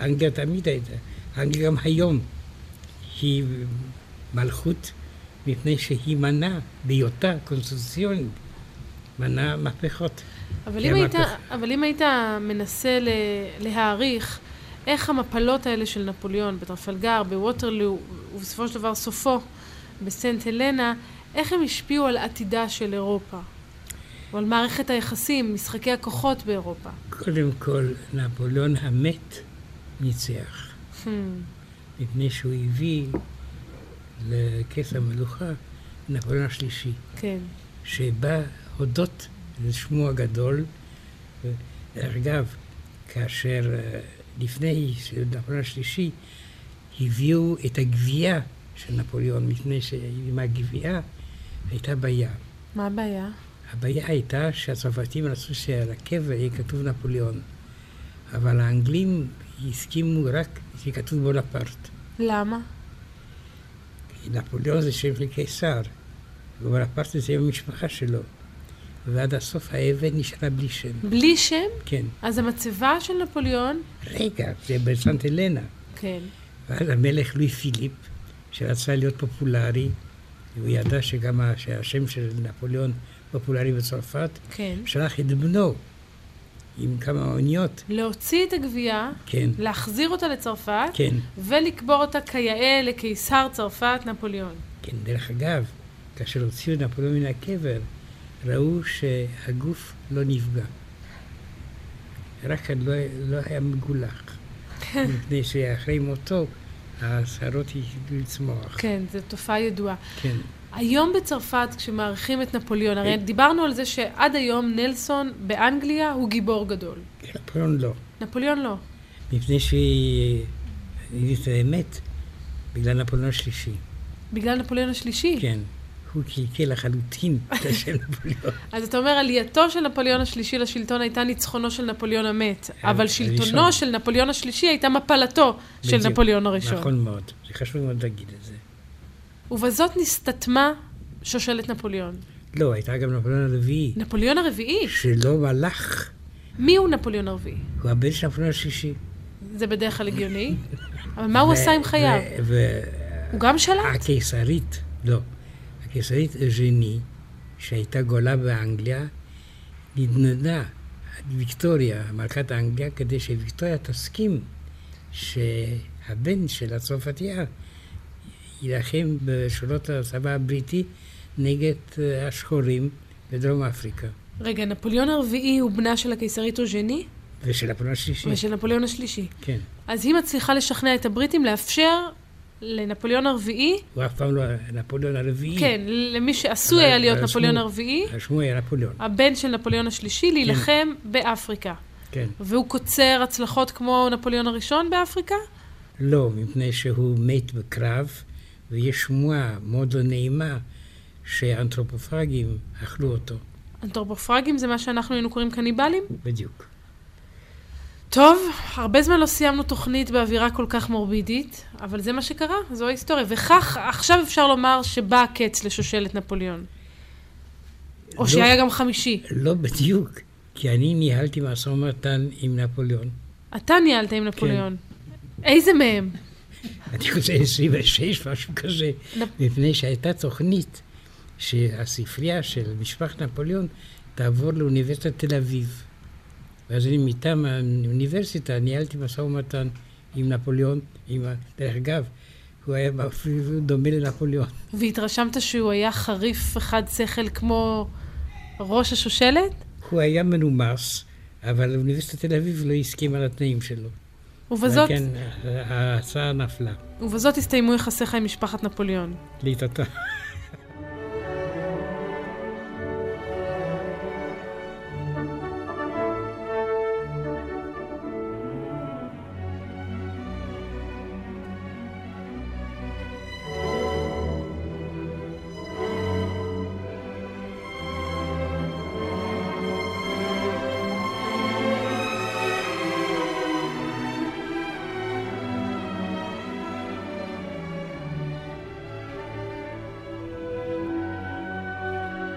S3: אנגליה תמיד הייתה, אנגליה גם היום היא מלכות מפני שהיא מנעה, בהיותה קונסטיטוציונית, מנעה מהפכות.
S2: אבל
S3: כן,
S2: אם, היית,
S3: מהפך.
S2: אבל אם היית מנסה ל, להעריך איך המפלות האלה של נפוליאון בטרפלגר, בווטרלו, ובסופו של דבר סופו בסנט הלנה, איך הם השפיעו על עתידה של אירופה? או על מערכת היחסים, משחקי הכוחות באירופה.
S3: קודם כל, נפוליאון המת ניצח.
S2: Hmm.
S3: מפני שהוא הביא לכס המלוכה נפוליאון השלישי,
S2: כן.
S3: שבא הודות לשמו הגדול. דרך אגב, כאשר אה, לפני נפוליאון השלישי הביאו את הגבייה של נפוליאון, מפני שעם הגבייה הייתה בעיה.
S2: מה הבעיה?
S3: הבעיה הייתה שהצרפתים רצו שעל הקבר יהיה כתוב נפוליאון, אבל האנגלים הסכימו רק שיהיה כתוב בולפרט.
S2: למה?
S3: נפוליאון זה שם של קיסר, ובונפרט זה שם המשפחה שלו. ועד הסוף האבן נשארה בלי שם,
S2: בלי שם?
S3: כן.
S2: אז המצבה של נפוליאון,
S3: רגע, זה בסנט הלנה.
S2: כן.
S3: ואז המלך לואי פיליפ, שרצה להיות פופולרי, הוא ידע שגם ה- שהשם של נפוליאון פופולרי בצרפת,
S2: כן.
S3: שלח את בנו עם כמה אוניות,
S2: להוציא את הגבייה,
S3: כן,
S2: להחזיר אותה לצרפת,
S3: כן.
S2: ולקבור אותה כיאה לקיסר צרפת נפוליאון.
S3: כן, דרך אגב, כאשר הוציאו את נפוליאון מן הקבר, ראו שהגוף לא נפגע. רק לא, לא היה מגולח.
S2: כן.
S3: מפני שאחרי מותו, השערות התחילו לצמוח.
S2: כן, זו תופעה ידועה.
S3: כן.
S2: היום בצרפת, כשמעריכים את נפוליאון, הרי דיברנו על זה שעד היום נלסון באנגליה הוא גיבור גדול.
S3: נפוליאון לא.
S2: נפוליאון לא.
S3: מפני שהיא היא את האמת, בגלל נפוליאון השלישי.
S2: בגלל נפוליאון השלישי.
S3: כן, הוא קלקל לחלוטין את השם נפוליאון.
S2: אז אתה אומר, עלייתו של נפוליאון השלישי לשלטון הייתה ניצחונו של נפוליאון המת,
S3: אה,
S2: אבל שלטונו
S3: הראשון.
S2: של נפוליאון השלישי הייתה מפלתו של
S3: בדיוק.
S2: נפוליאון הראשון.
S3: נכון מאוד, זה חשוב מאוד להגיד את זה.
S2: ובזאת נסתתמה שושלת נפוליאון.
S3: לא, הייתה גם נפוליאון הרביעי,
S2: נפוליאון הרביעי?
S3: שלא מלך,
S2: מי הוא נפוליאון הרביעי?
S3: הוא הבן של נפוליאון השלישי.
S2: זה בדרך כלל הגיוני, אבל מה הוא עשה עם חייו? הוא
S3: חייו.
S2: גם שלט?
S3: והקיסרית, לא, הקיסרית אג'ני, שהייתה גולה באנגליה, נדנדה את ויקטוריה, מלכת אנגליה, כדי שוויקטוריה תסכים שהבן של הצרפתייה יילחם בשורות הצבא הבריטי נגד אה, השחורים בדרום אפריקה.
S2: רגע, נפוליאון הרביעי הוא בנה של הקיסרית אוז'ני
S3: ושל הפונה השלישי,
S2: ושל נפוליאון השלישי.
S3: כן.
S2: אז היא מצליחה לשכנע את הבריטים לאפשר לנפוליאון הרביעי,
S3: הוא אף פעם לא נפוליאון הרביעי.
S2: כן, למי שעשוי
S3: אבל-
S2: היה להיות
S3: אבל
S2: נפוליאון
S3: שמו-
S2: הרביעי,
S3: שמו היה נפוליאון,
S2: הבן של נפוליאון השלישי, להילחם באפריקה.
S3: כן.
S2: והוא קוצר הצלחות כמו נפוליאון הראשון באפריקה?
S3: לא, מפני שהוא מת בקרב, ויש שמועה מאוד לא נעימה שאנתרופופגים אכלו אותו,
S2: אנתרופופרגים זה מה שאנחנו היינו קוראים קניבלים?
S3: בדיוק.
S2: טוב, הרבה זמן לא סיימנו תוכנית באווירה כל כך מורבידית, אבל זה מה שקרה, זו ההיסטוריה. וכך, עכשיו אפשר לומר שבא הקץ לשושלת נפוליאון. או
S3: לא.
S2: שהיה גם חמישי.
S3: לא בדיוק, כי אני ניהלתי משא ומתן עם נפוליאון.
S2: אתה ניהלת עם נפוליאון.
S3: כן.
S2: איזה מהם?
S3: אני חושב 26, משהו כזה,
S2: נפ-
S3: מפני שהייתה תוכנית שהספרייה של משפחת נפוליאון תעבור לאוניברסיטת תל אביב. ואז אני מטעם האוניברסיטה ניהלתי משא ומתן עם נפוליאון, עם ה... דרך אגב, הוא היה אפילו דומה לנפוליאון.
S2: והתרשמת שהוא היה חריף וחד שכל כמו ראש השושלת?
S3: הוא היה מנומס, אבל אוניברסיטת תל אביב לא הסכימה לתנאים שלו.
S2: ובזאת,
S3: כן, ההצעה נפלה,
S2: ובזאת הסתיימו יחסיך עם משפחת נפוליאון.
S3: לטאטא.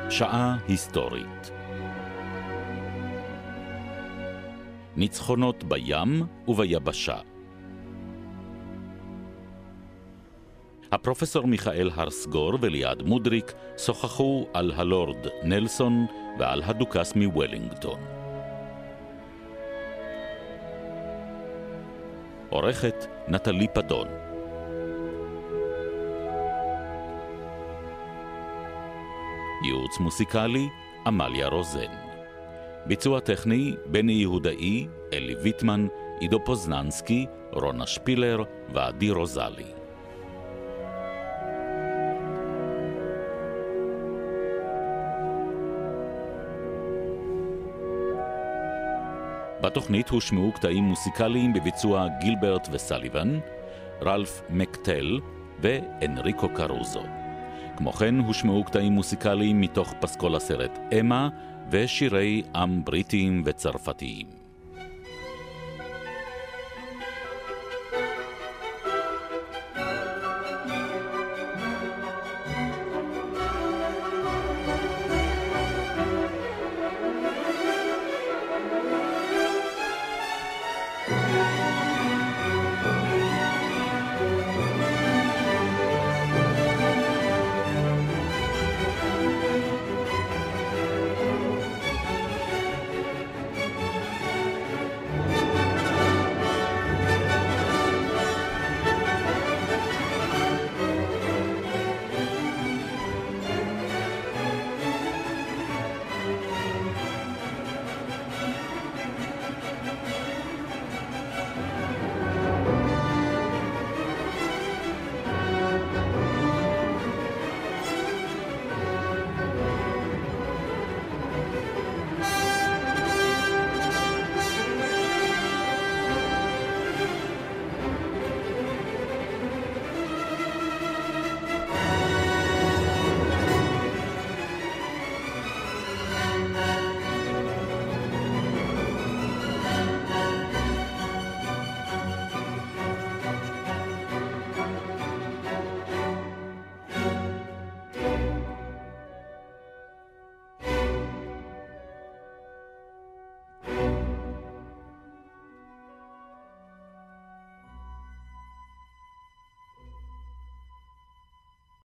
S1: שעה היסטורית. ניצחונות בים וביבשה. הפרופסור מיכאל הרסגור וליעד מודריק שוחחו על הלורד נלסון ועל הדוכס מוולינגטון. עורכת נטלי פדון ייעוץ מוסיקלי, עמליה רוזן. ביצוע טכני, בני יהודאי, אלי ויטמן, עידו פוזננסקי, רונה שפילר ועדי רוזלי. בתוכנית הושמעו קטעים מוסיקליים בביצוע גילברט וסליבן, רלף מקטל ואנריקו קרוזו. כמו כן הושמעו קטעים מוסיקליים מתוך פסקול הסרט אמה ושירי עם בריטיים וצרפתיים.